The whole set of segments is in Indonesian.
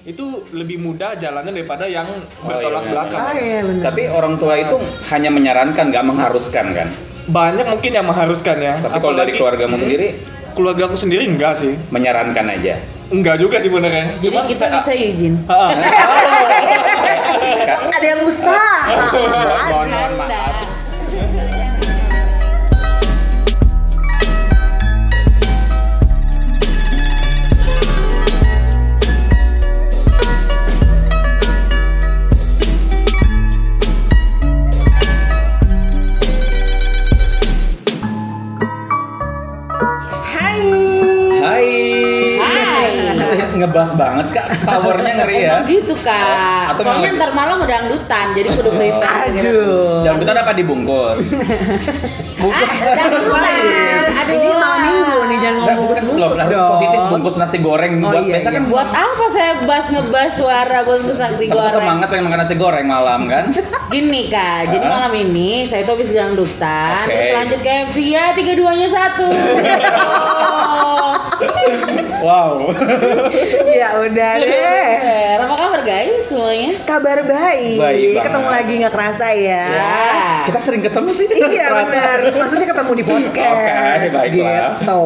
itu lebih mudah jalannya daripada yang Oh, bertolak iya, belakang. Ah, iya bener. Tapi orang tua itu hanya menyarankan, nggak mengharuskan kan. Banyak mungkin yang mengharuskan ya. Tapi kalau dari keluargamu sendiri keluarga aku sendiri enggak sih. menyarankan aja. Enggak juga sih benernya. Jadi kita bisa Yujin. Oh, Ah, iya. ah. Ada yang usaha. Mohon, mohon maaf. Hai. Hai. Hai. Ngebas banget kak, powernya ngeri ya. Emang gitu kak. Atau Soalnya memang- ntar malam udah angdutan, jadi kudu gitu. prepare. Eh, Aduh. Jangan kita dapat dibungkus. Bungkus jangan lupa. Aduh. Ini malam minggu nih jangan Nggak, ngomong bukan Nah, belum harus dong. positif bungkus nasi goreng Oh, buat iya, biasa iya. kan buat Buat apa saya bas ngebas suara buat kesakti Semua goreng? semangat pengen makan nasi goreng malam kan? Gini kak, jadi Hah? malam ini saya tuh habis jangdutan, Oke. terus lanjut KFC ya tiga duanya satu. Oh. Wow. Ya udah deh. Bener. Apa kabar guys semuanya? Kabar baik. Baik banget. Ketemu lagi nggak kerasa ya. Kita sering ketemu sih. Iya Terasa. benar. Maksudnya ketemu di podcast. Oke, baiklah. Gitu.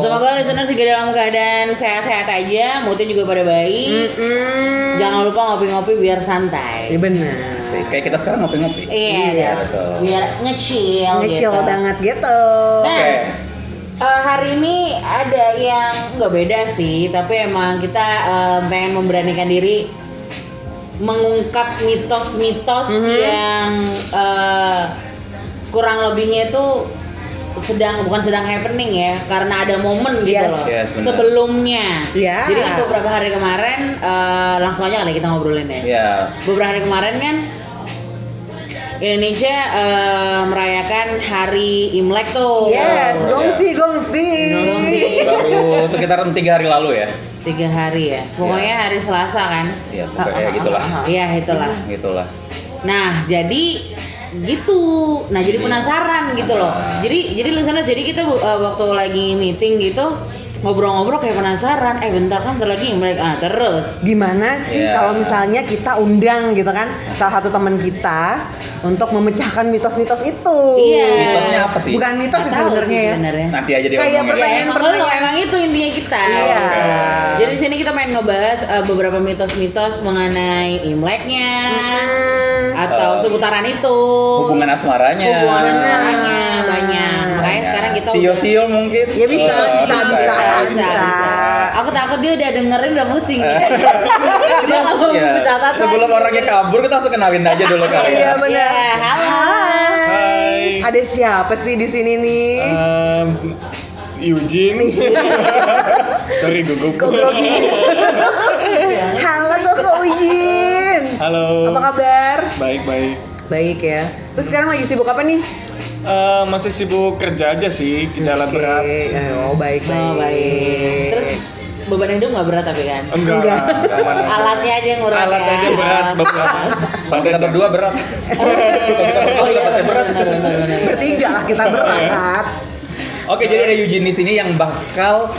Semoga listener juga dalam keadaan sehat-sehat aja, moodnya juga pada baik. Hmm. Jangan lupa ngopi-ngopi biar santai. Iya benar. Asik. Kayak kita sekarang ngopi-ngopi. Iya, betul. biar ngecil. Ngecil gitu. banget gitu. Nah, Oke. eh, hari ini ada yang nggak beda sih, tapi emang kita eh, pengen memberanikan diri mengungkap mitos-mitos Mhm. yang eh, kurang lebihnya itu sedang bukan sedang happening ya karena ada momen gitu Yes. loh Yes, benar. sebelumnya Ya. jadi kan beberapa hari kemarin eh, langsung aja kali kita ngobrolin ya Iya. beberapa hari kemarin kan Indonesia eh, merayakan Hari Imlek tuh. Yes, gongsi gongsi. iya. Gongsi. Baru sekitaran tiga hari lalu ya. Tiga hari Iya. ya. Pokoknya hari Selasa kan. Iya, Ah, pokoknya kayak gitulah. Iya itulah. Gitulah. Nah jadi gitu. Nah jadi penasaran gitu loh. Jadi jadi listeners jadi kita eh, waktu lagi meeting gitu ngobrol-ngobrol kayak penasaran. Eh bentar kan ntar lagi Imlek ah terus. Gimana sih Iya. kalau misalnya kita undang gitu kan salah satu teman kita untuk memecahkan mitos-mitos itu. Iya. Mitosnya apa sih? Bukan mitos sih Nggak tahu sebenarnya ya. sebenarnya. Nanti aja dia Kayak Ya, pertanyaan- emang pertanyaan. lo emang itu intinya kita. Iya. Oke. Jadi di sini kita main ngebahas eh, beberapa mitos-mitos mengenai Imleknya atau Hmm. Eh, seputaran itu. Hubungan asmaranya. Hubungan Benar. asmaranya banyak. Makanya sekarang kita Sio udah- sio mungkin. Ya bisa, Oh, bisa, bisa, Bisa, bisa. Aku takut dia udah dengerin udah pusing. Kita langsung Iya. Sebelum orangnya kabur kita langsung kenalin aja dulu kali Iya ya. benar. Iya, halo. Hai. Hai. Ada siapa sih di sini nih? Eh. Em, Eugene. Sorry gugup. Kok grogi? Iya. Halo Koko Ujin. Halo. Apa kabar? Baik-baik. Baik ya. Terus sekarang lagi sibuk apa nih? Eh, masih sibuk kerja aja sih, ke jalan Oke, berat. Oh baik baik. Oh, baik. Terus beban hidup nggak berat tapi kan? Enggak. Enggak. Alatnya aja yang berat. Alat ya. aja berat Alat. beberapa. Sama kita berdua berat. Oh iya, Dapatnya berat. benar, benar, benar, benar. Bertiga lah kita berangkat. Oke, jadi ada Eugene di sini yang bakal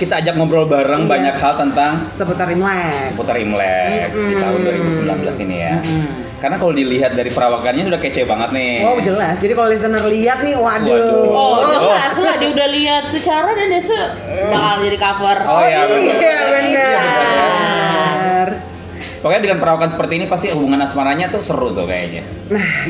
kita ajak ngobrol Iya. bareng banyak hal tentang Seputar Imlek. seputar Imlek di tahun 2019 ini ya. Karena kalau dilihat dari perawakannya sudah kece banget nih. Wow Oh, jelas. Jadi kalau listener lihat nih, waduh. Waduh. Oh, Oh. jelas lah dia udah lihat secara dan dia se bakal jadi cover. Oh, iya, iya benar. benar. Pokoknya dengan perawakan seperti ini pasti hubungan asmaranya tuh seru tuh kayaknya.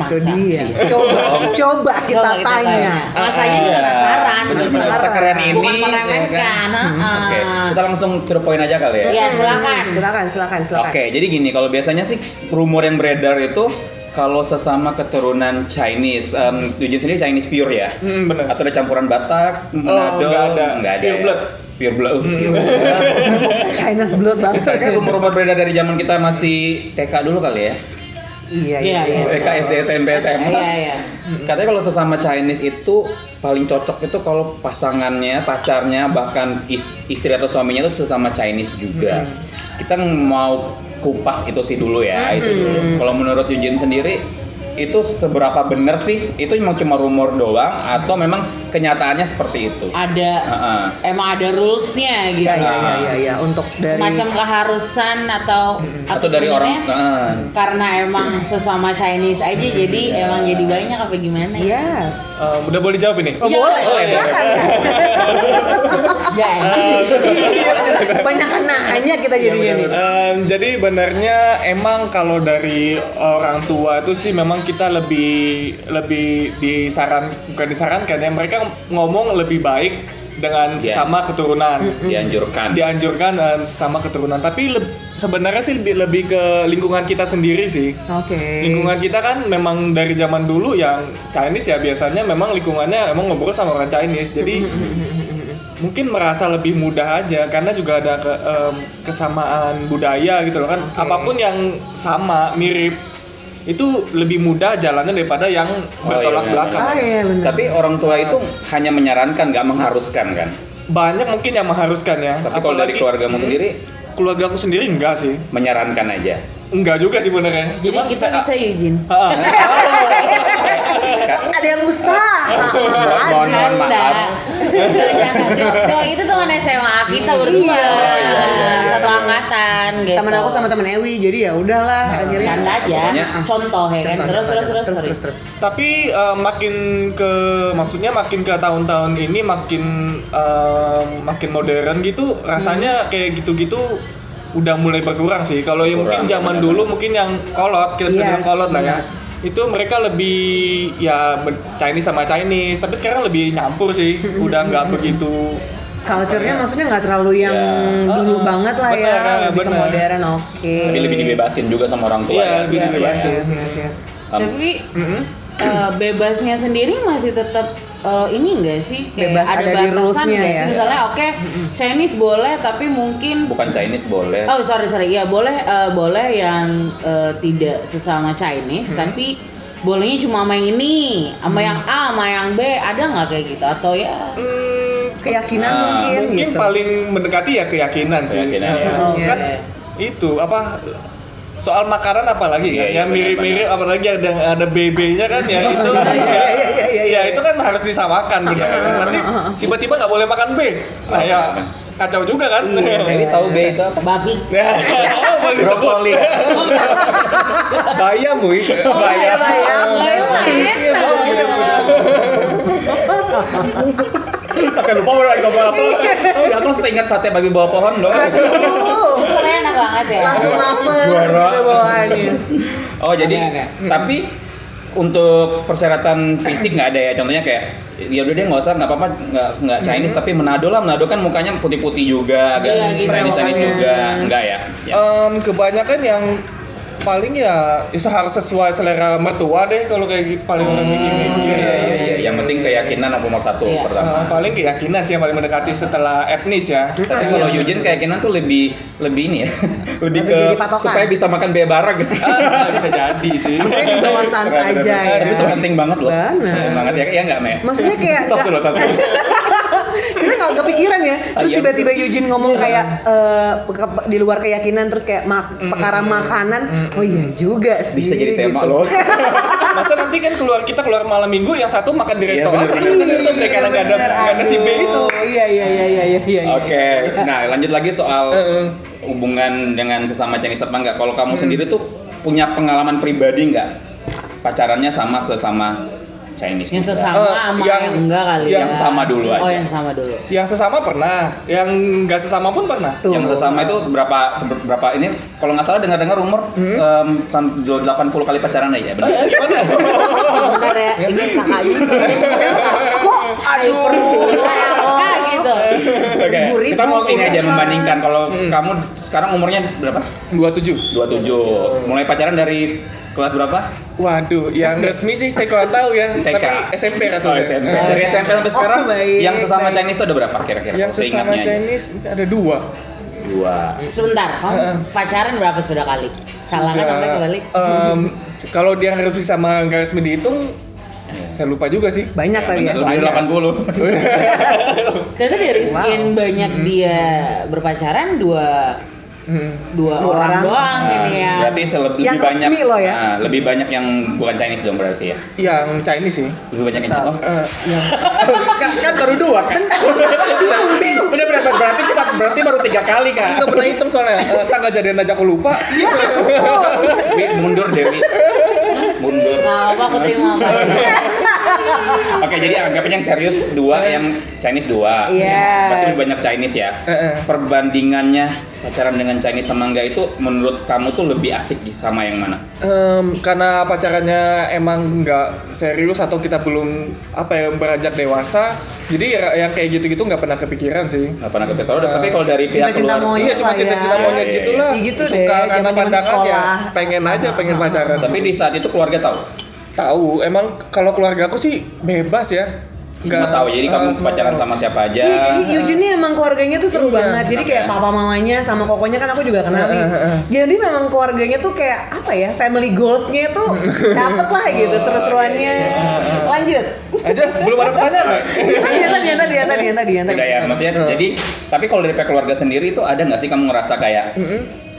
Nah, itu Masa? dia. Coba, coba kita Coba tanya. Masanya juga Iya, penasaran. Benar-benar penasaran. sekeren ini. Bukan ya kan? meremehkan. heeh. Oke, kita langsung to the point aja kali ya. Iya, silakan. Silakan, silakan, silakan. Oke, jadi gini, kalau biasanya sih rumor yang beredar itu kalau sesama keturunan Chinese, um, Eugene sendiri Chinese pure ya? Hmm, bener. Atau ada campuran Batak, Manado, nggak ada. nggak Pure ya? blood. Hmm. Pure blood. uh, pure blood. China's blood banget. Kayaknya rumor-rumor beredar dari zaman kita masih TK dulu kali ya? iya, Iya, iya. iya. TK, SD, SMP, Iya, SMA. iya. Katanya kalau sesama Chinese itu paling cocok itu kalau pasangannya, pacarnya, bahkan is- istri atau suaminya itu sesama Chinese juga. Kita mau kupas itu sih dulu ya, itu dulu. Kalau menurut Eugene sendiri itu seberapa benar sih? Itu memang cuma rumor doang atau memang kenyataannya seperti itu? ada Heeh. emang ada rulesnya gitu Ya, ya, ya, ya, ya. Untuk dari Hmm. macam keharusan atau Atau dari orang ah. sebenarnya heeh. karena emang sesama Chinese aja Hmm. jadi emang jadi banyak apa gimana Iya. ya Yes. Eh, udah boleh jawab ini? Oh, Iya, boleh, boleh. silakan. kan? ya Eh, emang. Banyak kenanya kita jadinya nih. Em, jadi benarnya emang kalau dari orang tua itu sih memang kita lebih lebih disaran bukan disarankan ya mereka ngomong lebih baik dengan Iya. sesama keturunan. dianjurkan. Dianjurkan eh, sesama keturunan, tapi leb- sebenarnya sih lebih, lebih ke lingkungan kita sendiri sih. Oke. Lingkungan kita kan memang dari zaman dulu yang Chinese ya biasanya memang lingkungannya emang ngobrol sama orang Chinese. Jadi mungkin merasa lebih mudah aja karena juga ada ke- em, kesamaan budaya gitu loh kan. Apapun yang sama, mirip itu lebih mudah jalannya daripada yang bertolak iya, belakang. Ah iya benar. Tapi orang tua itu hanya menyarankan, nggak mengharuskan kan? Banyak mungkin yang mengharuskan ya. Tapi kalau dari Apalagi- keluargamu sendiri keluarga aku sendiri enggak sih. menyarankan aja. Enggak juga sih benernya. jadi Cuman kita saya- bisa Eugene Ah, ah. ada yang usaha. Mohon mohon maaf. Jangan dong. Dong, itu teman SMA kita berdua Iya. Oh, iya, iya, iya. satu angkatan gitu teman aku sama teman Ewi jadi ya udahlah akhirnya Canda aja Pokoknya, ah. contoh ya kan Contoh, terus contoh, terus terus terus sorry. terus terus. Tapi eh, makin ke maksudnya makin ke tahun-tahun ini makin eh, makin modern gitu rasanya kayak gitu-gitu udah mulai berkurang sih. Kalau yang mungkin Kurang, zaman benar-benar. dulu mungkin yang kolot kita bisa Iya, bilang kolot lah ya. benar. Itu mereka lebih ya ber- Chinese sama Chinese, tapi sekarang lebih nyampur sih. Udah nggak begitu Iya. Culture-nya maksudnya nggak terlalu yang Ya. dulu Uh-uh. banget lah ya, Benar, lebih ke benar. modern. Oke. Tapi lebih dibebasin juga sama orang tua Iya, ya. lebih Yes, yes, dibebasin. yes, yes, yes. Um, tapi eh, bebasnya sendiri masih tetap eh, ini enggak sih Bebas ada di batasan rules-nya nggak ya. sih misalnya oke Chinese boleh tapi mungkin bukan Chinese boleh. Oh sorry sorry, ya boleh eh, boleh yang eh, tidak sesama Chinese, tapi bolehnya cuma sama yang ini, sama yang A, sama yang B, ada nggak kayak gitu atau ya? Keyakinan Nah, mungkin, mungkin gitu. paling mendekati ya keyakinan sih Keyakinan, ya. Heeh. Oke. kan itu apa soal makanan apalagi Iya, kan ya iya, mirip-mirip apalagi ada ada BB-nya kan ya itu ya, iya, iya, iya, iya, ya, itu kan harus disamakan benar kan nanti tiba-tiba nggak boleh makan B nah Iya, ya kacau juga kan Iya, Nah, Ini tahu B itu apa? ya? Babi. Ya, boleh disebut Brokoli. bayam wih Oh, iya, bayam bayam, bayam lah, enak. Iya, Sampai lupa orang lagi ngomong apa. Oh, ya aku langsung ingat sate babi bawah pohon loh. Uh, Itu kan enak banget ya. langsung lapar Juara. udah bawaannya. Oh, jadi Ada, ada. tapi untuk persyaratan fisik nggak ada ya. Contohnya kayak ya udah deh nggak usah nggak apa-apa nggak nggak Chinese tapi Manado lah Manado kan mukanya putih-putih juga Iya, agak gitu, Chinese Chinese makanya. juga enggak ya, ya. Em, kebanyakan yang paling ya, ya harus sesuai selera mertua deh kalau kayak gitu paling orang Hmm, mikir-mikir Iya, iya, iya. yang penting keyakinan yang nomor satu Iya. pertama Eh, paling keyakinan sih yang paling mendekati setelah etnis ya. Tapi kalau Yujin keyakinan tuh lebih lebih ini ya, lebih Iya. Lebih ke jadi patokan. supaya bisa makan bea bareng. Ah, bisa jadi sih. Saya di bawah sans aja ya. Tapi itu penting banget loh. Benar. Penting banget ya, ya nggak Meh? Maksudnya kayak Tas dulu, tas dulu. Ah, iya, kita nggak kepikiran ya terus Ayam. tiba-tiba Eugene Iya. ngomong kayak eh, ke- di luar keyakinan terus kayak Mm, mak- perkara makanan oh iya juga sih Bisa jadi tema gitu. loh. Masa nanti kan keluar kita keluar malam minggu yang satu makan di Iya, restoran, bener, terus yang satu mereka karena nggak ada nggak ada si B itu. Aduh, iya iya iya iya iya iya Oke, nah lanjut lagi soal hubungan dengan sesama Chinese apa nggak? Kalau Hmm. kamu sendiri tuh punya pengalaman pribadi nggak pacarannya sama sesama Chinese? Yang juga? sesama Eh, sama yang, yang- enggak kali yang ya. sama dulu Oh aja. yang sama dulu. Yang sesama pernah, yang nggak sesama pun pernah. Tuh. Yang sesama itu berapa seber- berapa ini kalau nggak salah dengar-dengar rumor Hmm. em, sam- 80 kali pacaran aja, Oh, benar? Eh, Gimana? Bentar ya, Iya. ini kakaknya. kok aduh Oh, Kakak gitu. Oke, Ibu ribu kita mau ini kurang. Hmm. aja membandingkan kalau kamu sekarang umurnya berapa? Dua tujuh. 27. Mulai pacaran dari kelas berapa? Waduh, yang resmi sih saya kurang tahu ya. TK. Tapi SMP Oh, rasanya. SMP. Eh, Dari SMP sampai Oh, sekarang baik, yang sesama baik. Chinese itu ada berapa Yang kira-kira? Kalau sesama seingatnya aja. Chinese ada dua. Dua. Sebentar, kamu pacaran berapa sudah kali? Salah kan Sudah, sampai kebalik? Eh, em, kalau dia resmi sama nggak resmi dihitung, Iya. saya lupa juga sih. banyak kali ya Bener, Lebih dari 80. Mm-hmm. Ternyata dari sekian banyak dia berpacaran dua dua orang, Dua orang. Ah. doang ini ya. Ah, Berarti sele- lebih Yang banyak resmi loh ya. Ah, lebih banyak yang bukan Chinese dong berarti ya. yang Chinese sih Lebih banyak yang Betul. oh. Eh, yang kan, kan baru dua kan Bener bener berarti cuma berarti baru tiga kali kak. nggak pernah hitung soalnya Eh, tanggal jadian aja aku lupa Wi, mundur Dewi. Mundur. Nggak apa-apa aku terima apa Oke, jadi anggapnya yang serius dua, yang Chinese dua. Iya. Berarti lebih banyak Chinese ya. Eh, eh. Perbandingannya pacaran dengan Chinese sama enggak itu menurut kamu tuh lebih asik di- sama yang mana? Em, karena pacarannya emang nggak serius atau kita belum apa ya beranjak dewasa jadi ya, yang kayak gitu-gitu nggak pernah kepikiran sih Gak pernah kepikiran. Udah, Tapi kalau dari pihak Eh, Cinta-cinta keluarga, monyet iya cuma lah ya. cinta-cinta monyet Iya, iya, gitu iya. lah Ya gitu deh, suka karena zaman-zaman pandangan ya sekolah. pengen aja pengen pacaran tapi di saat itu keluarga tahu. tahu emang kalau keluarga aku sih bebas ya Semua tahu. Jadi eh, kamu semua pacaran tahu. sama siapa aja. Iya, jadi Eugene nih emang keluarganya tuh seru Iya. banget. Jadi kayak Kenapa? papa mamanya sama kokonya kan aku juga kenal nih. Eh, eh, eh. Jadi memang keluarganya tuh kayak apa ya? Family goals-nya tuh dapet lah gitu seru-seruannya. Lanjut. aja belum ada pertanyaan Mbak? Tadi yang tadi yang tadi yang tadi yang tadi yang tadi. Udah ya, maksudnya jadi tapi kalau dari pihak keluarga sendiri itu ada nggak sih kamu ngerasa kayak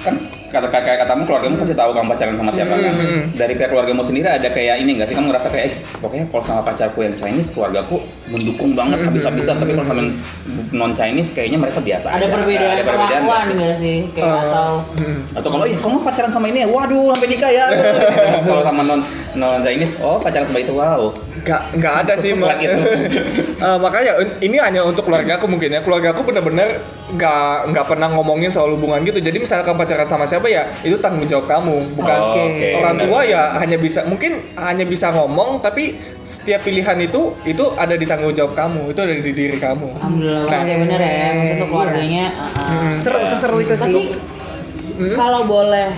kan kata kayak katamu keluargamu pasti tahu kamu pacaran sama siapa kan? Dari pihak keluargamu sendiri ada kayak ini nggak sih kamu ngerasa kayak eh, pokoknya kalau sama pacarku yang Chinese keluargaku mendukung banget habis-habisan tapi kalau sama yang non Chinese kayaknya mereka biasa Ada aja. perbedaan Ada perbedaan nggak perlakuan sih? nggak sih? Oh. Kayak Eh, atau Mm-hmm. Atau kalau ih kamu pacaran sama ini ya, waduh sampai nikah ya. kalau sama non non Chinese, oh pacaran sama itu wow. nggak nggak ada sih Mbak. Gitu. Eh, makanya un- ini hanya untuk keluarga aku mungkin ya keluarga aku bener-bener nggak nggak pernah ngomongin soal hubungan gitu jadi misalnya kamu pacaran sama siapa ya itu tanggung jawab kamu bukan Oh, oke. orang tua ya hanya bisa mungkin hanya bisa ngomong tapi setiap pilihan itu itu ada di tanggung jawab kamu itu ada di diri kamu alhamdulillah Nah, ya bener ya. Maksudnya untuk iya. Mm-hmm. keluarganya. ah, ah. Seru seseru itu sih. Tapi kalau boleh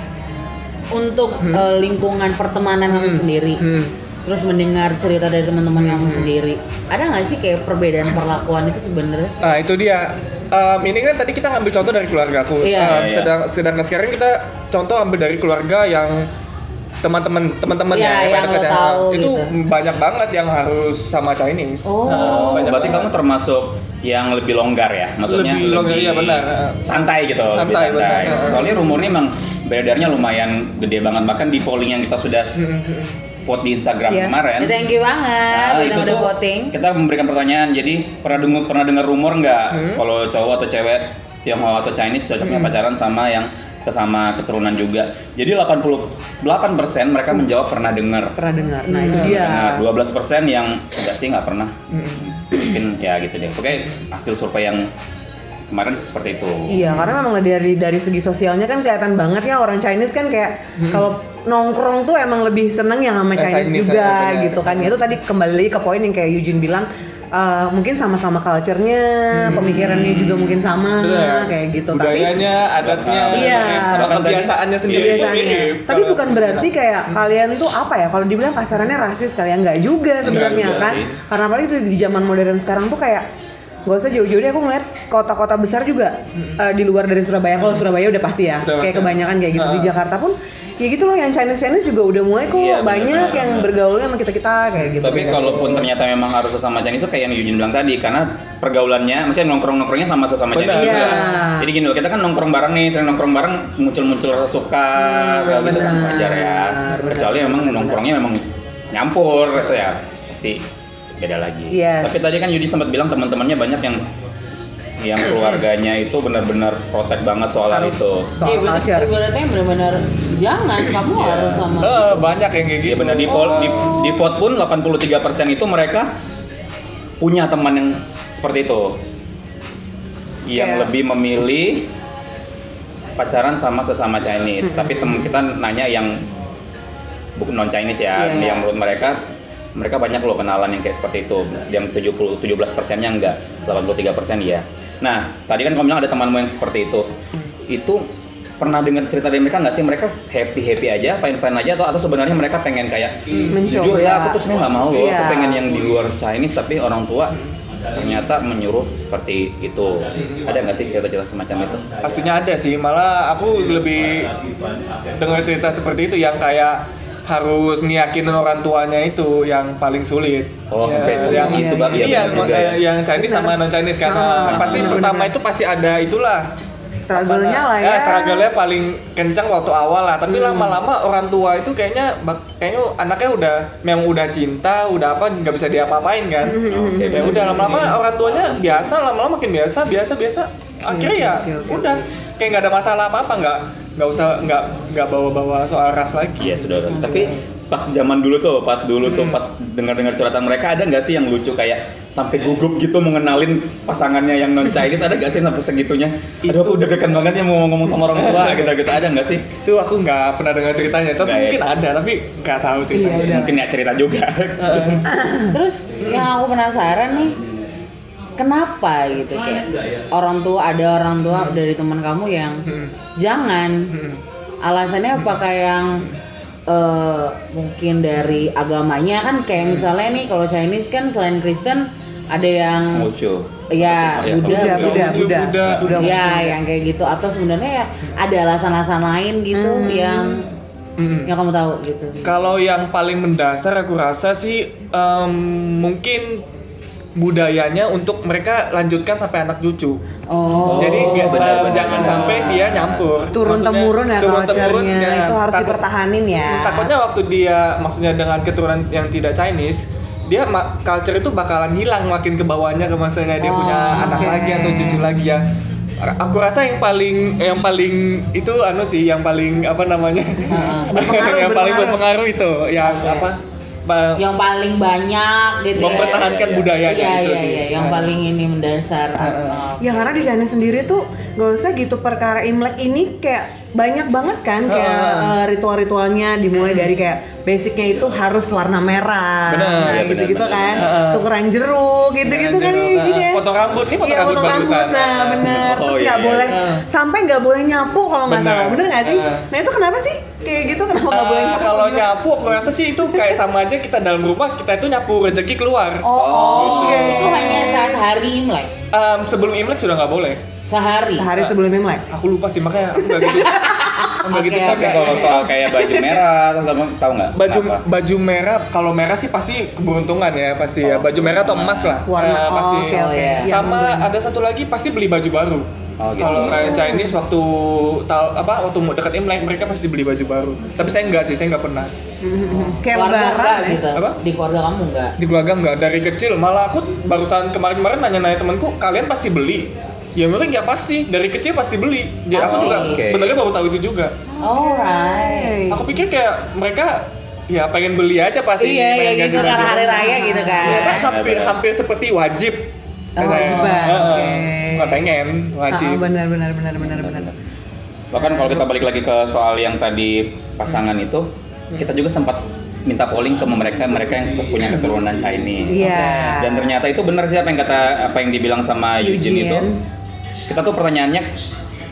untuk eh, lingkungan pertemanan kamu sendiri, Hmm. terus mendengar cerita dari teman-teman kamu sendiri, ada nggak sih kayak perbedaan perlakuan itu sebenarnya? Nah itu dia. Em, ini kan tadi kita ngambil contoh dari keluarga aku. Iya. Em, Iya, iya. sedang, sedangkan sekarang kita contoh ambil dari keluarga yang teman-teman teman-teman Iya, ya, yang pada lo kadang- tahu itu gitu. banyak banget yang harus sama Chinese. Oh. Nah, Oh, berarti kamu termasuk yang lebih longgar ya, maksudnya Lebih longgar, iya, benar. santai gitu, lebih Santai, benar. Soalnya rumornya emang beredarnya lumayan gede banget, bahkan di polling yang kita sudah vote di Instagram Yes. kemarin. Ya, Thank you banget, nah, yang itu udah tuh voting. kita memberikan pertanyaan. Jadi pernah dengar pernah dengar rumor nggak Hmm? kalau cowok atau cewek Tionghoa atau Chinese cocoknya pacaran sama yang sesama keturunan juga. Jadi 88% mereka menjawab pernah dengar. Pernah dengar. Nah, itu dia. Nah, 12 yang enggak sih nggak pernah. Mungkin ya gitu deh. Oke, hasil survei yang kemarin seperti itu. Iya, karena memang dari dari segi sosialnya kan kelihatan banget ya orang Chinese kan kayak kalau nongkrong tuh emang lebih seneng yang Hmm. sama Eh, Chinese, Chinese, juga ya, benar. gitu kan. Itu tadi kembali lagi ke poin yang kayak Eugene bilang eh, mungkin sama-sama culture-nya, pemikirannya juga mungkin sama Hmm. Benar. Nah, kayak gitu. Tapi Budayanya, adatnya, Iya. sama Iya, Bahkan tadi- kebiasaannya sendiri itu kebiasaannya. mirip. Tapi Kalau- bukan berarti kayak kalian tuh apa ya? Kalau dibilang kasarannya rasis kalian nggak juga sebenarnya juga kan? sih. Karena apalagi tuh di zaman modern sekarang tuh kayak Gak usah jauh-jauh deh aku ngeliat kota-kota besar juga eh, di luar dari Surabaya. Kalau Surabaya udah pasti ya, Udah pasti. kayak kebanyakan kayak gitu di Ah. Jakarta pun ya gitu loh yang Chinese Chinese juga udah mulai kok Iya, bener, banyak bener, yang bener. bergaulnya sama kita kita kayak gitu. Tapi kalaupun ternyata memang harus sesama Chinese itu kayak yang Yujin bilang tadi karena pergaulannya maksudnya nongkrong-nongkrongnya sama sesama Benar. Chinese. juga. Iya. Jadi gini loh, kita kan nongkrong bareng nih, sering nongkrong bareng muncul-muncul rasa suka kayak gitu kan Hmm, benar, wajar ya. benar, Kecuali memang nongkrongnya memang nyampur gitu ya. Pasti beda lagi. Yes. Tapi tadi kan Yudi sempat bilang teman-temannya banyak yang yang keluarganya itu benar-benar protek banget soal hal Harus itu. soal Iya, berarti culture. ibaratnya benar-benar jangan kamu harus sama. Eh, banyak yang kayak gitu. Iya benar di, pol- di di vote pun 83% itu mereka punya teman yang seperti itu. Yang Kayak- lebih memilih pacaran sama sesama Chinese, tapi teman kita nanya yang bukan non Chinese ya, Yes. yang menurut mereka mereka banyak loh kenalan yang kayak seperti itu. Yang 70 17 persennya enggak, 83 persen ya. Nah, tadi kan kamu bilang ada temanmu yang seperti itu. Itu pernah dengar cerita dari mereka nggak sih? Mereka happy happy aja, fine fine aja atau atau sebenarnya mereka pengen kayak Mencoba. jujur ya aku tuh sebenarnya nggak mau loh, aku Iya. pengen yang di luar Chinese tapi orang tua ternyata menyuruh seperti itu. Ada nggak sih cerita-cerita semacam itu? Pastinya ada sih, malah aku lebih dengar cerita seperti itu yang kayak harus niyakinin orang tuanya itu yang paling sulit. Oh, Ya, sampai sampai yang gitu iya, Iya, bang. Iya, yang, benar juga ya. yang Chinese sama non Chinese kan. Ah, pasti benar. pertama itu pasti ada itulah struggle-nya lah ya. Hmm. ya struggle-nya paling kencang waktu awal lah tapi lama-lama orang tua itu kayaknya bak- kayaknya anaknya udah memang udah cinta udah apa nggak bisa diapa-apain kan Hmm. Oke, ya udah lama-lama orang tuanya biasa lama-lama makin biasa biasa biasa akhirnya ya oke, oke, udah kayak nggak ada masalah apa-apa nggak nggak usah nggak nggak bawa-bawa soal ras lagi Iya saudara. Tapi pas zaman dulu tuh, pas dulu tuh, pas dengar-dengar curhatan mereka ada nggak sih yang lucu kayak sampai gugup gitu mengenalin pasangannya yang non Chinese ada nggak sih sampai segitunya? Aduh aku deg-degan banget ya mau ngomong sama orang tua gitu-gitu ada nggak sih? itu aku nggak pernah dengar ceritanya tapi Nggak ya? mungkin ada tapi nggak tahu ceritanya Mungkin ya cerita juga. Terus yang aku penasaran nih, kenapa gitu kayak orang tua ada orang tua dari teman kamu yang jangan alasannya apakah yang eh, mungkin dari agamanya kan kayak misalnya nih kalau Chinese kan selain Kristen ada yang Lucu. ya Ya, Buddha, Buddha, Buddha. Buddha, Lucu, Buddha, Buddha. Buddha. ya yang kayak gitu atau sebenarnya ya ada alasan-alasan lain gitu yang Hmm. yang kamu tahu gitu Kalau yang paling mendasar aku rasa sih em, mungkin budayanya untuk mereka lanjutkan sampai anak cucu. oh Jadi nggak- benar, em, benar, jangan benar. sampai dia nyampur. Turun Maksudnya, temurun ya turun temurun, culture-nya ya. itu harus Takut- dipertahanin ya. Hmm, Takutnya waktu dia maksudnya dengan keturunan yang tidak Chinese, dia ma- culture itu bakalan hilang makin ke bawahnya ke masanya dia punya anak Oh, oke. lagi atau cucu lagi ya. Ra- Aku rasa yang paling yang paling itu anu sih yang paling apa namanya? Berpengaruh, yang paling berpengaruh. Ya, berpengaruh itu yang apa? ba- yang paling banyak gitu ya. mempertahankan Iya, iya, budayanya iya, itu iya, sih. Iya. iya, yang paling ini mendasar atau Ya karena di China sendiri tuh gak usah gitu perkara Imlek ini kayak banyak banget kan kayak eh, ritual-ritualnya dimulai dari kayak basicnya itu harus warna merah. Hmm. Benar, nah, iya, gitu-gitu benar, kan. benar. Heeh. Tukeran jeruk gitu-gitu kan Jeruk, ya, Jin, ya. heeh. Potong rambut, ini potong Iya, rambut potong bagusan. rambut, Nah, Heeh. benar. Terus Oh, iya, nggak iya. boleh sampai nggak boleh nyapu kalau nggak Benar. salah. Bener nggak sih? Heeh. Nah, itu kenapa sih? Kayak gitu kenapa nggak boleh Eh, nyapu? kalau nyapu aku rasa sih itu kayak sama aja kita dalam rumah kita itu nyapu rezeki keluar. Oh, oke. Iya, itu hanya saat hari Imlek Em, sebelum Imlek sudah nggak boleh. sehari Sehari sebelum Imlek. Aku lupa sih makanya aku nggak gitu. aku nggak gitu Oke, Tapi capek. kalau soal kayak baju merah, teman-teman tahu nggak? Baju Kenapa? baju merah kalau merah sih pasti keberuntungan ya pasti Oh. ya. Baju merah atau emas lah. Warna. Eh, pasti. oh, oke oke. iya. Iya, sama ada satu lagi pasti beli baju baru. Oh, gitu. Kalau kayak Chinese waktu tal- apa waktu mau dekat Imlek mereka pasti beli baju baru. Tapi saya enggak sih, saya enggak pernah. kayak keluarga enggak lebaran ya. gitu Apa? di keluarga kamu enggak di keluarga nggak dari kecil malah aku barusan kemarin-kemarin nanya-nanya temanku kalian pasti beli ya mereka nggak pasti dari kecil pasti beli jadi aku Pasti. juga Oke. benernya baru tahu itu juga alright aku pikir kayak mereka ya pengen beli aja pasti iya iya pengen gitu ganti karena baju. hari raya gitu kan Ya, kan hampir hampir seperti wajib Iya, Oh, Katanya. wajiban, Heeh. oke. Nggak pengen wajib Ah, benar benar benar benar benar. Bahkan kalau kita balik lagi ke soal yang tadi pasangan itu, kita juga sempat minta polling ke mereka mereka yang punya keturunan Chinese. Iya. Dan ternyata itu benar sih apa yang kata apa yang dibilang sama Eugene, Eugene. itu. Kita tuh pertanyaannya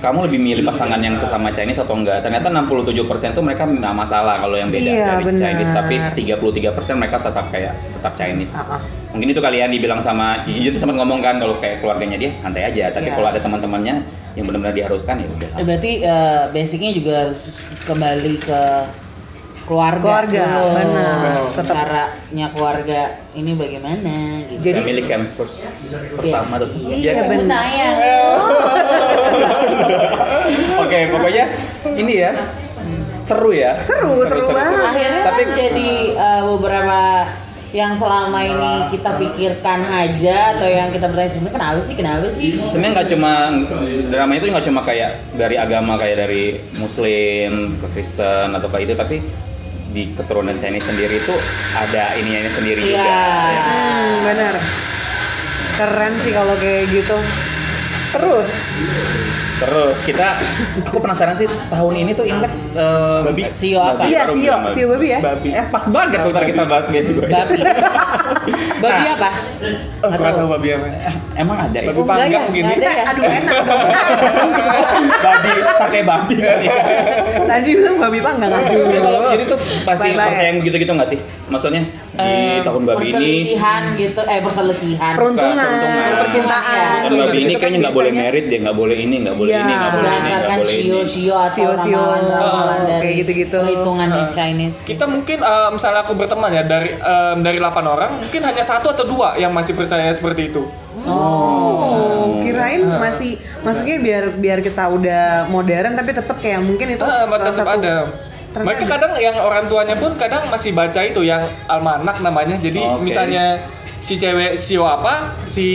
kamu lebih milih pasangan yang sesama Chinese atau enggak? Ternyata 67% tuh mereka nggak masalah kalau yang beda Iya, dari benar. Chinese, tapi 33% mereka tetap kayak tetap Chinese. Ah, ah. Mungkin itu kalian dibilang sama Eugene tuh sempat ngomong kan kalau kayak keluarganya dia santai aja, tapi Iya. kalau ada teman-temannya yang benar-benar diharuskan ya udah. Eh, berarti eh, basicnya juga kembali ke keluarga Keluarga, dulu. benar. Tetap. caranya keluarga ini bagaimana gitu Jadi- Family camp first pertama tuh. Iya, kan? benar. Nanya. Oke, pokoknya ini ya seru ya. Seru, seru banget. akhirnya Tapi kan jadi uh, beberapa yang selama ini kita pikirkan aja atau yang kita bertanya sebenarnya kenapa sih kenapa sih sebenarnya nggak cuma drama itu nggak cuma kayak dari agama kayak dari Muslim ke Kristen atau kayak itu, tapi di keturunan Chinese sendiri itu ada ininya sendiri Iya. Iya. juga. ya. Hmm, benar. Keren sih kalau kayak gitu. Terus Terus kita, aku penasaran sih tahun ini tuh Imlek eh, Babi. Sio apa? iya baru Sio, bilang babi. Sio Babi ya. babi Eh pas banget tuh ntar kita bahas babi. babi babi apa oh, kurang tahu babi apa Emang ada ya? Babi enggak panggang ya, gini. enggak ada ya. Aduh enak dong. babi, sate babi. Tadi bilang babi panggang aduh. Jadi kalau jadi tuh pasti Bye-bye. Eh, pakai yang gitu-gitu nggak sih? Maksudnya di tahun babi ini perselisihan gitu eh perselisihan Peruntungan, Peruntungan. tahun percintaan. kayak babi ini gitu-gitu kan kayaknya nggak boleh biasanya. merit deh, nggak boleh ini, nggak boleh Iya. ini, nggak boleh Nah, ini, nggak berdasarkan boleh ini. sio sio atau Sio-sio. ramalan ramalan Oh, dari kayak gitu-gitu. perhitungan Chinese kita mungkin eh, misalnya aku berteman ya dari em, dari 8 orang mungkin hanya satu atau dua yang masih percaya seperti itu Ah. Oh, kirain masih maksudnya biar biar kita udah modern tapi tetap kayak mungkin itu Ah, salah tetap satu- ada. Ternyata Mereka ada. kadang yang orang tuanya pun kadang masih baca itu yang almanak namanya. Jadi Oke. misalnya si cewek sio apa, si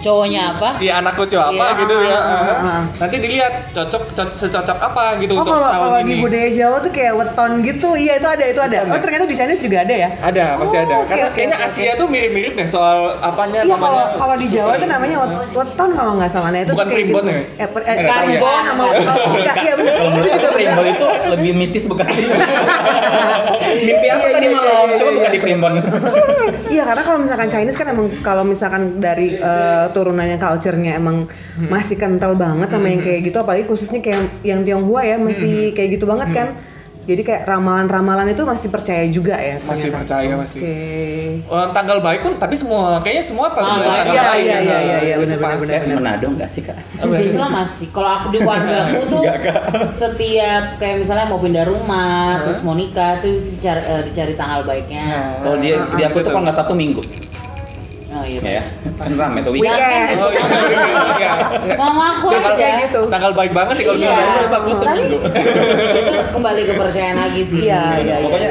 Cowoknya apa? di anakku sio apa Iya. gitu ya. Ah, ah, ah, ah. Nanti dilihat cocok, cocok secocok apa gitu Oh untuk kalau tahun kalau ini. di budaya Jawa tuh kayak weton gitu, iya itu ada itu ada. Weton, Oh ya? ternyata di Chinese juga ada ya? Ada, pasti Oh, ada. oke, Karena oke, kayaknya oke, Asia tuh mirip-mirip deh soal apanya Iya kalau namanya. kalau di Jawa itu namanya wet- weton kalau nggak salah. Nah itu Bukan tuh kayak primbon gitu. ya? Eh, per- eh, Eh, tahu ya? primbon sama weton. Enggak, Iya Nah, benar. Kalau Itu menurut juga aku benar. primbon itu lebih mistis bukan? Mimpi aku tadi malam, coba bukan di primbon. Iya karena kalau misalkan Chinese kan emang kalau misalkan dari eh, turunannya culture-nya emang Hmm. masih kental banget sama yang kayak gitu apalagi khususnya kayak yang Tionghoa ya Hmm. masih kayak gitu banget kan. Jadi kayak ramalan-ramalan itu masih percaya juga ya. Masih ternyata. percaya, masih. Oke. Eh, tanggal baik pun tapi semua kayaknya semua apa Ah, baik. tanggal Iya baik, iya ya. iya iya iya Itu benar-benar. pasti. Eh, Manado nggak sih kak? Biasanya masih. Kalau aku di keluarga aku tuh Enggak, Kak. setiap kayak misalnya mau pindah rumah, terus mau nikah tuh dicari, eh, dicari tanggal baiknya. Kalau dia di aku tuh kalau nggak satu minggu, Oh iya. ya kan rame tuh weekend. Jangan kan Oh, iya, iya, iya, iya. Mama aku Tanggal- aja. kayak gitu. Tanggal baik banget sih kalau Iya. bilang baik. Takut tuh Tapi minggu. itu kembali kepercayaan lagi sih. Iya, iya, iya. Hmm, Pokoknya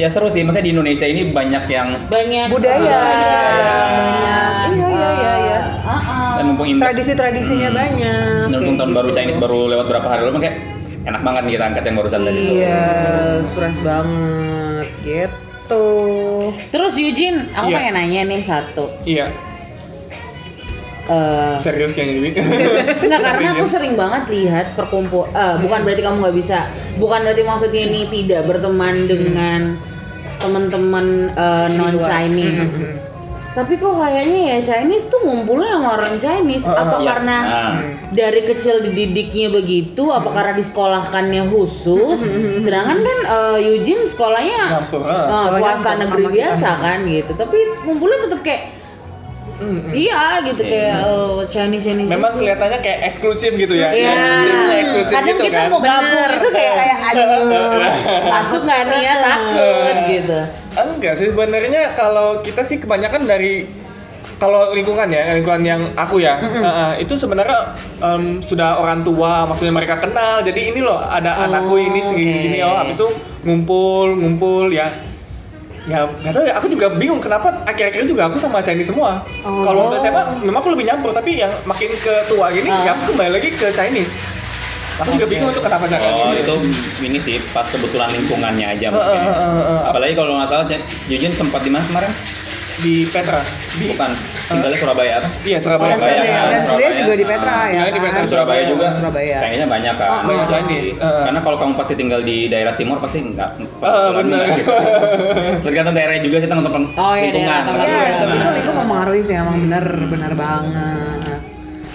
ya seru sih, maksudnya di Indonesia ini banyak yang Banyak eh, budaya banyak banyak, iya iya iya iya eh, ah, ah. dan mumpung Imlek tradisi-tradisinya Hmm. banyak Dan kayak untung tahun gitu. Nah, baru Chinese baru lewat berapa hari lalu kayak enak banget nih kita angkat yang barusan tadi. iya surah banget gitu Terus Eugene, aku Iya. pengen nanya nih satu. Iya, Eh, serius kayaknya ini. Enggak karena aku sering banget lihat perkumpul eh, bukan berarti kamu nggak bisa bukan berarti maksudnya ini tidak berteman dengan teman-teman non Chinese tapi kok kayaknya ya Chinese tuh ngumpulnya sama orang Chinese apa yes. karena Ah. dari kecil dididiknya begitu apa karena disekolahkannya khusus sedangkan kan eh, Eugene sekolahnya Nyampur, ah. eh, Sekolahnya swasta nyampur negeri sama kita. biasa kan gitu tapi ngumpulnya tetap kayak Iya gitu kayak eh, Chinese Chinese Memang gitu. kelihatannya kayak eksklusif gitu ya. Iya. Dia punya eksklusif Kadang gitu kita kan. mau gabung itu kayak kayak aduh takut nggak nih ya takut gitu. Ah, Enggak sih sebenarnya kalau kita sih kebanyakan dari kalau lingkungan ya lingkungan yang aku ya eh, itu sebenarnya em, sudah orang tua maksudnya mereka kenal jadi ini loh ada Oh, anakku ini segini gini oke. oh habis itu ngumpul ngumpul ya ya nggak tahu ya aku juga bingung kenapa akhir-akhir juga aku sama Chinese semua Oh. kalau untuk SMA memang aku lebih nyampur tapi yang makin ke tua gini Ah. ya aku kembali lagi ke Chinese aku juga bingung itu kenapa Oh caranya itu ini sih pas kebetulan lingkungannya aja mungkin. Heeh, ya. heeh, heeh. Apalagi kalau nggak salah Cek, Jujun sempat di mana kemarin? di Petra di Bukan tinggalnya Surabaya apa? iya Surabaya dan Oh, ya. kuliah dan kuliah juga di Petra ya Iya, di Petra, kan? Surabaya juga. Surabaya Chinese-nya banyak kan. Ah, banyak Chinese, heeh. Karena kalau kamu pasti tinggal di daerah timur pasti enggak. Ah, benar. Tergantung daerahnya juga kita nonton Oh, iya, lingkungan. daerah tempat. Iya, Iya, itu Nah. lingkup mempengaruhi sih emang bener bener banget.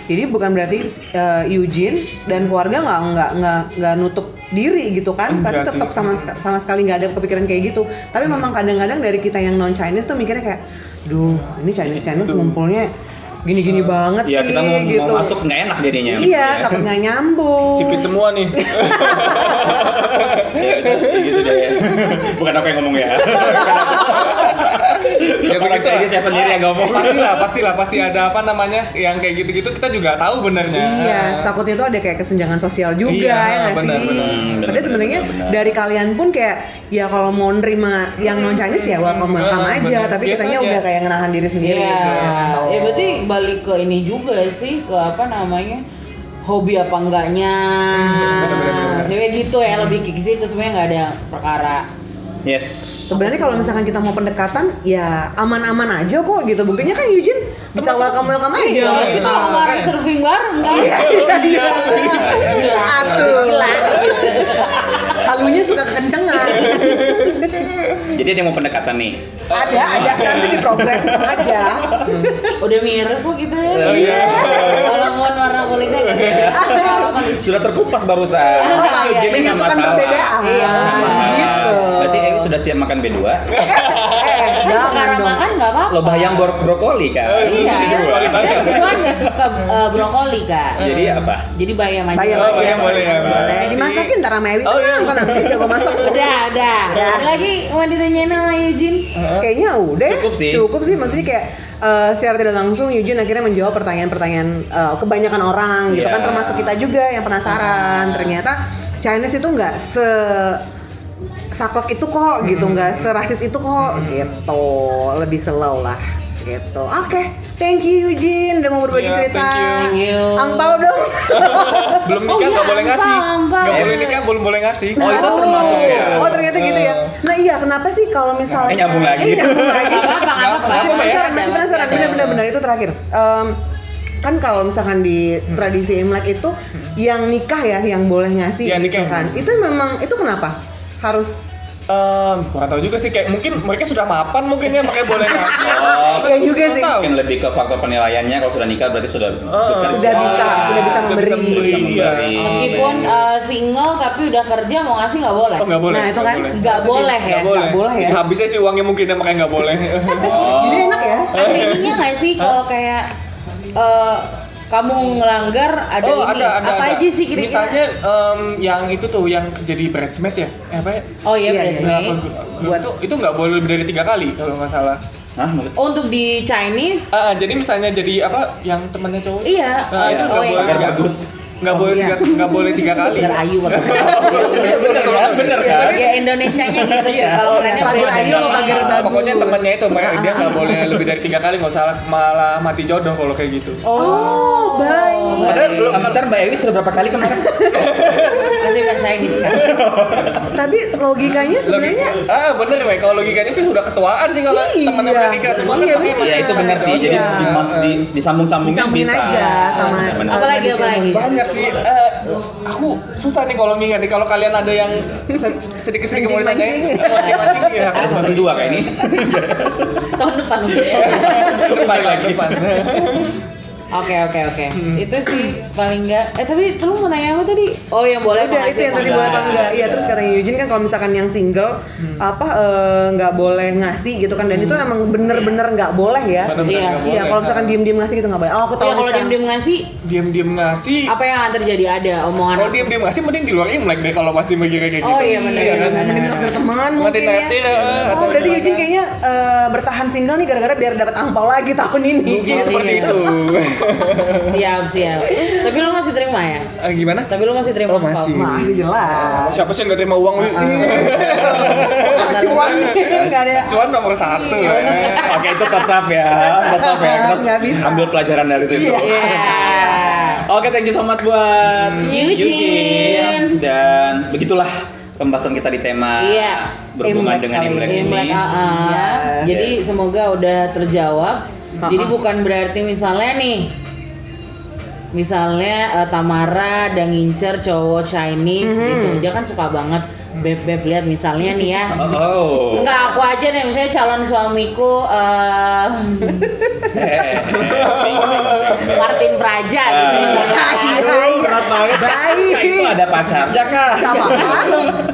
Jadi bukan berarti eh, Eugene dan keluarga nggak nggak nggak nggak nutup diri gitu kan? Enggak Berarti sih. tetap sama sek- sama sekali nggak ada kepikiran kayak gitu. Tapi Hmm. memang kadang-kadang dari kita yang non Chinese tuh mikirnya kayak, duh ini Chinese Chinese ngumpulnya gini-gini banget Iya sih kita mau, mau gitu. masuk nggak enak jadinya. iya, Ya. takut nggak nyambung. sipit semua nih Ya, udah, gitu deh. Bukan aku yang ngomong ya. ya Orang begitu Chinese ya sendiri yang ngomong. pastilah pastilah pasti ada apa namanya yang kayak gitu-gitu kita juga tahu benernya Iya, takutnya itu ada kayak kesenjangan sosial juga Iya, ya nggak benar, sih? benar. Benar, Padahal benar, sebenarnya benar. dari kalian pun kayak ya kalau mau nerima yang non Chinese ya welcome welcome benar, aja, benar. tapi Biasa kitanya aja. udah kayak ngenahan diri sendiri. Iya. gitu ya. Atau- Ya berarti balik ke ini juga sih ke apa namanya hobi apa enggaknya. Sebenarnya gitu ya lebih ke situ sebenarnya nggak ada perkara. Yes. Sebenarnya kalau misalkan kita mau pendekatan ya aman-aman aja kok gitu. Buktinya kan Eugene bisa welcome welcome aja. Iya, gitu. kita kemarin surfing bareng kan. Iya. Gila. Atuh. Gila. Halunya suka kencengan. Jadi ada yang mau pendekatan nih. ada ada nanti di progres aja. Udah mirip kok gitu ya. Oh, iya. Walaupun warna kulitnya kayak apa. Sudah terkupas barusan. Iya, iya, Jadi nggak kan Menyatukan masalah. perbedaan. Iya, Nggak masalah. Gitu. Berarti Ewi sudah siap makan B2. eh, kan Jangan perkara dong. makan nggak apa-apa. Lo bayang bro- brokoli kan. Eh, Iya. Itu juga Saya banyak. kebetulan nggak suka eh, brokoli kak. Jadi apa? Jadi bayam aja. Bayam Oh, aja. bayam boleh ya. Boleh. Dimasakin ntar sama Ewi Oh, iya. tenang, tenang dia jago masak. Udah, udah. Udah. Ada lagi mau ditanyain sama Eugene? Kayaknya udah ya. Cukup sih. Cukup sih maksudnya kayak eh, secara tidak langsung Yujin akhirnya menjawab pertanyaan-pertanyaan eh, kebanyakan orang gitu Iya. kan termasuk kita juga yang penasaran. Ternyata Chinese itu nggak se saklek itu kok gitu nggak serasis itu kok gitu lebih slow lah gitu oke thank you Yujin udah mau berbagi Iya, cerita thank you. Thank you. angpau dong Ah, belum Oh, nikah iya, nggak boleh ampal, ngasih ampal. nggak Eh. boleh nikah belum boleh ngasih Nah, tuh. Oh, ya. oh ternyata gitu ya nah iya kenapa sih kalau misalnya Eh, nyambung lagi. Eh, nyambung lagi Nggak apa-apa, nggak apa-apa. Nggak apa-apa masih ya. penasaran masih penasaran benar benar benar itu terakhir Em, kan kalau misalkan di tradisi Imlek itu yang nikah ya yang boleh ngasih Iya, gitu nikah yang kan itu memang itu kenapa harus Em, kurang tahu juga sih kayak mungkin mereka sudah mapan mungkin ya makanya boleh ngasih Oh, ya juga Kurang sih tahu. mungkin lebih ke faktor penilaiannya kalau sudah nikah berarti sudah Oh. bekerja. sudah bisa sudah bisa Sudah memberi, bisa memberi, iya. Memberi. Meskipun eh, single tapi udah kerja mau ngasih nggak boleh. oh nggak boleh Nah, itu nggak kan boleh. Nggak Itu boleh ya. Nggak boleh. Nggak boleh ya. habisnya sih uangnya mungkin ya makanya nggak boleh Oh. jadi enak ya Ada ininya nggak sih kalau kayak eh, kamu ngelanggar ada oh ini? ada ada apa ada. aja sih kira-kira? misalnya em, yang itu tuh yang jadi bridesmaid ya eh, apa ya Oh iya, Iya, beres iya. baik. Buat. itu itu nggak boleh lebih dari tiga kali kalau nggak salah Hah, maksud- Oh, untuk di Chinese Ah, jadi misalnya jadi apa yang temannya cowok Iya. Ah, itu nggak Iya. Oh, boleh iya. tiga Bagus. nggak boleh iya. tiga nggak boleh tiga kali bener ayu banget. Bener, bener, kan? Bener, kan? ya Indonesianya gitu sih Iya. kalau kerennya Pagar beres ayu, ayu. pagar bagus. Ah, Pokoknya temannya itu mereka dia nggak boleh lebih dari tiga kali nggak salah malah mati jodoh kalau kayak gitu. Oh, oh baik Padahal belum Ah, Bentar Mbak Ewi sudah berapa kali kemarin? masih bukan Chinese kan? tapi logikanya sebenarnya Logi- ah bener Wei, kalau logikanya sih sudah ketuaan sih kalau Iya. temannya udah nikah semua tapi Iya, bener. makanya Iya itu benar sih. Jadi Iya. di, di, disambung-sambungin Disambungin bisa. aja sama- eh, Benar, benar. Apa lagi, apa lagi? banyak sih Eh, aku susah nih kalau ngingat nih kalau kalian ada yang se- sedikit-sedikit mau ditanyain Mancing-mancing. eh, mancing-mancing ya Ada aku season dua kayak ini. Tahun depan. depan lagi depan Oke oke oke. Hmm. Itu sih paling enggak. Eh tapi lu mau nanya apa tadi? Oh yang boleh Udah apa itu yang nggak? tadi boleh apa enggak? Iya terus katanya Yujin kan kalau misalkan yang single Hmm. apa eh, nggak boleh ngasih gitu kan dan itu emang bener-bener nggak boleh ya. Iya. Bener-bener Iya. nggak boleh. Iya, Iya kalau misalkan diem-diem ngasih gitu nggak boleh. Oh aku Ya tahu. kalau nih sekarang. diem-diem ngasih diam-diam ngasih apa yang akan terjadi ada omongan. Oh, kalau diam-diam ngasih mending di luar imlek deh kalau pasti mikirnya kayak gitu Oh iya benar. Iya, benar, kan? benar. Mending traktir teman mungkin ya. Mati-mati, eh, Oh atau berarti gimana. Yujin kayaknya eh, bertahan single nih gara-gara biar dapat angpau lagi tahun ini. mungkin Oh, seperti iya. itu Siap siap. Tapi lu masih terima ya? Eh, gimana Tapi Ah, lu masih terima? Oh, apa? masih. Masih jelas. siapa sih yang nggak terima uang Wi? Cuan ya kan nggak ada. cuan nomor satu Iya, ya. Oke itu tetap ya, tetap ya. Kita Nggak bisa. ambil pelajaran dari situ. Iya. Hmm. Iya. Oke, thank you so much buat Eugene. Dan begitulah pembahasan kita di tema Iya. berhubungan Imlek dengan kali Imlek ini. ini. Imlek, ah, ah. Yes. Jadi semoga udah terjawab. iya. Ah, Jadi ah. bukan berarti misalnya nih Misalnya eh, Tamara dan ngincer cowok Chinese Mhm. gitu Dia kan suka banget Beb-beb lihat misalnya nih ya Oh. Enggak aku aja deh misalnya calon suamiku eh, Eh, Martin Praja gitu Iya, misalnya. iya. Kenapa banget? Nah, Baik. Itu ada pacarnya kah? Gak apa-apa,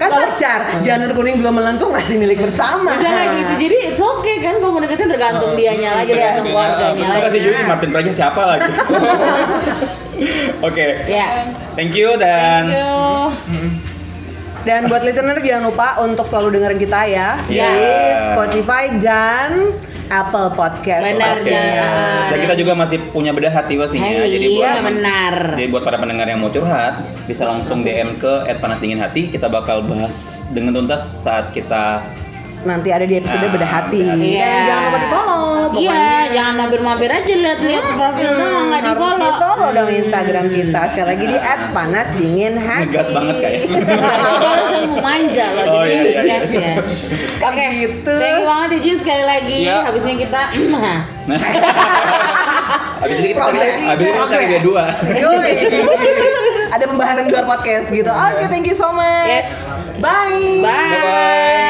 kan pacar Janur kuning belum melengkung masih milik bersama Misalnya gitu jadi it's okay kan kalau mau deketin tergantung dianya lagi Iya. tergantung keluarganya Ah. Terima lagi kasih Juni Martin Praja siapa lagi? Oke, Ya thank you Thank dan you Dan buat listener jangan lupa untuk selalu dengerin kita ya Iya. Nah. Di Spotify dan Apple Podcast Benar, Oke. Jan. Dan kita juga masih punya bedah hati pastinya. ya, Hai, jadi buat iya, benar. Jadi buat para pendengar yang mau curhat bisa langsung DM ke @panasdinginhati. Kita bakal bahas dengan tuntas saat kita Nanti ada di episode Nah, Bedah Hati bedah hati. Iya. Dan jangan lupa di follow Iya, jangan mampir-mampir aja lihat-lihat profil doang nggak Hmm. di iya. Harus follow. di follow dong Instagram kita Sekali lagi di @panasdinginhati Ngegas banget kayak. Kalau mau manja loh, Oh, jadi iya, iya, yes, iya. yes. Sekali gitu Thank you banget Ijin sekali lagi. Iya. Habisnya kita habis ini kita Progress. cari- habis ini kita cari dia dua. Yoi. Ada pembahasan di luar podcast gitu Oke thank you so much Yes. Bye Bye.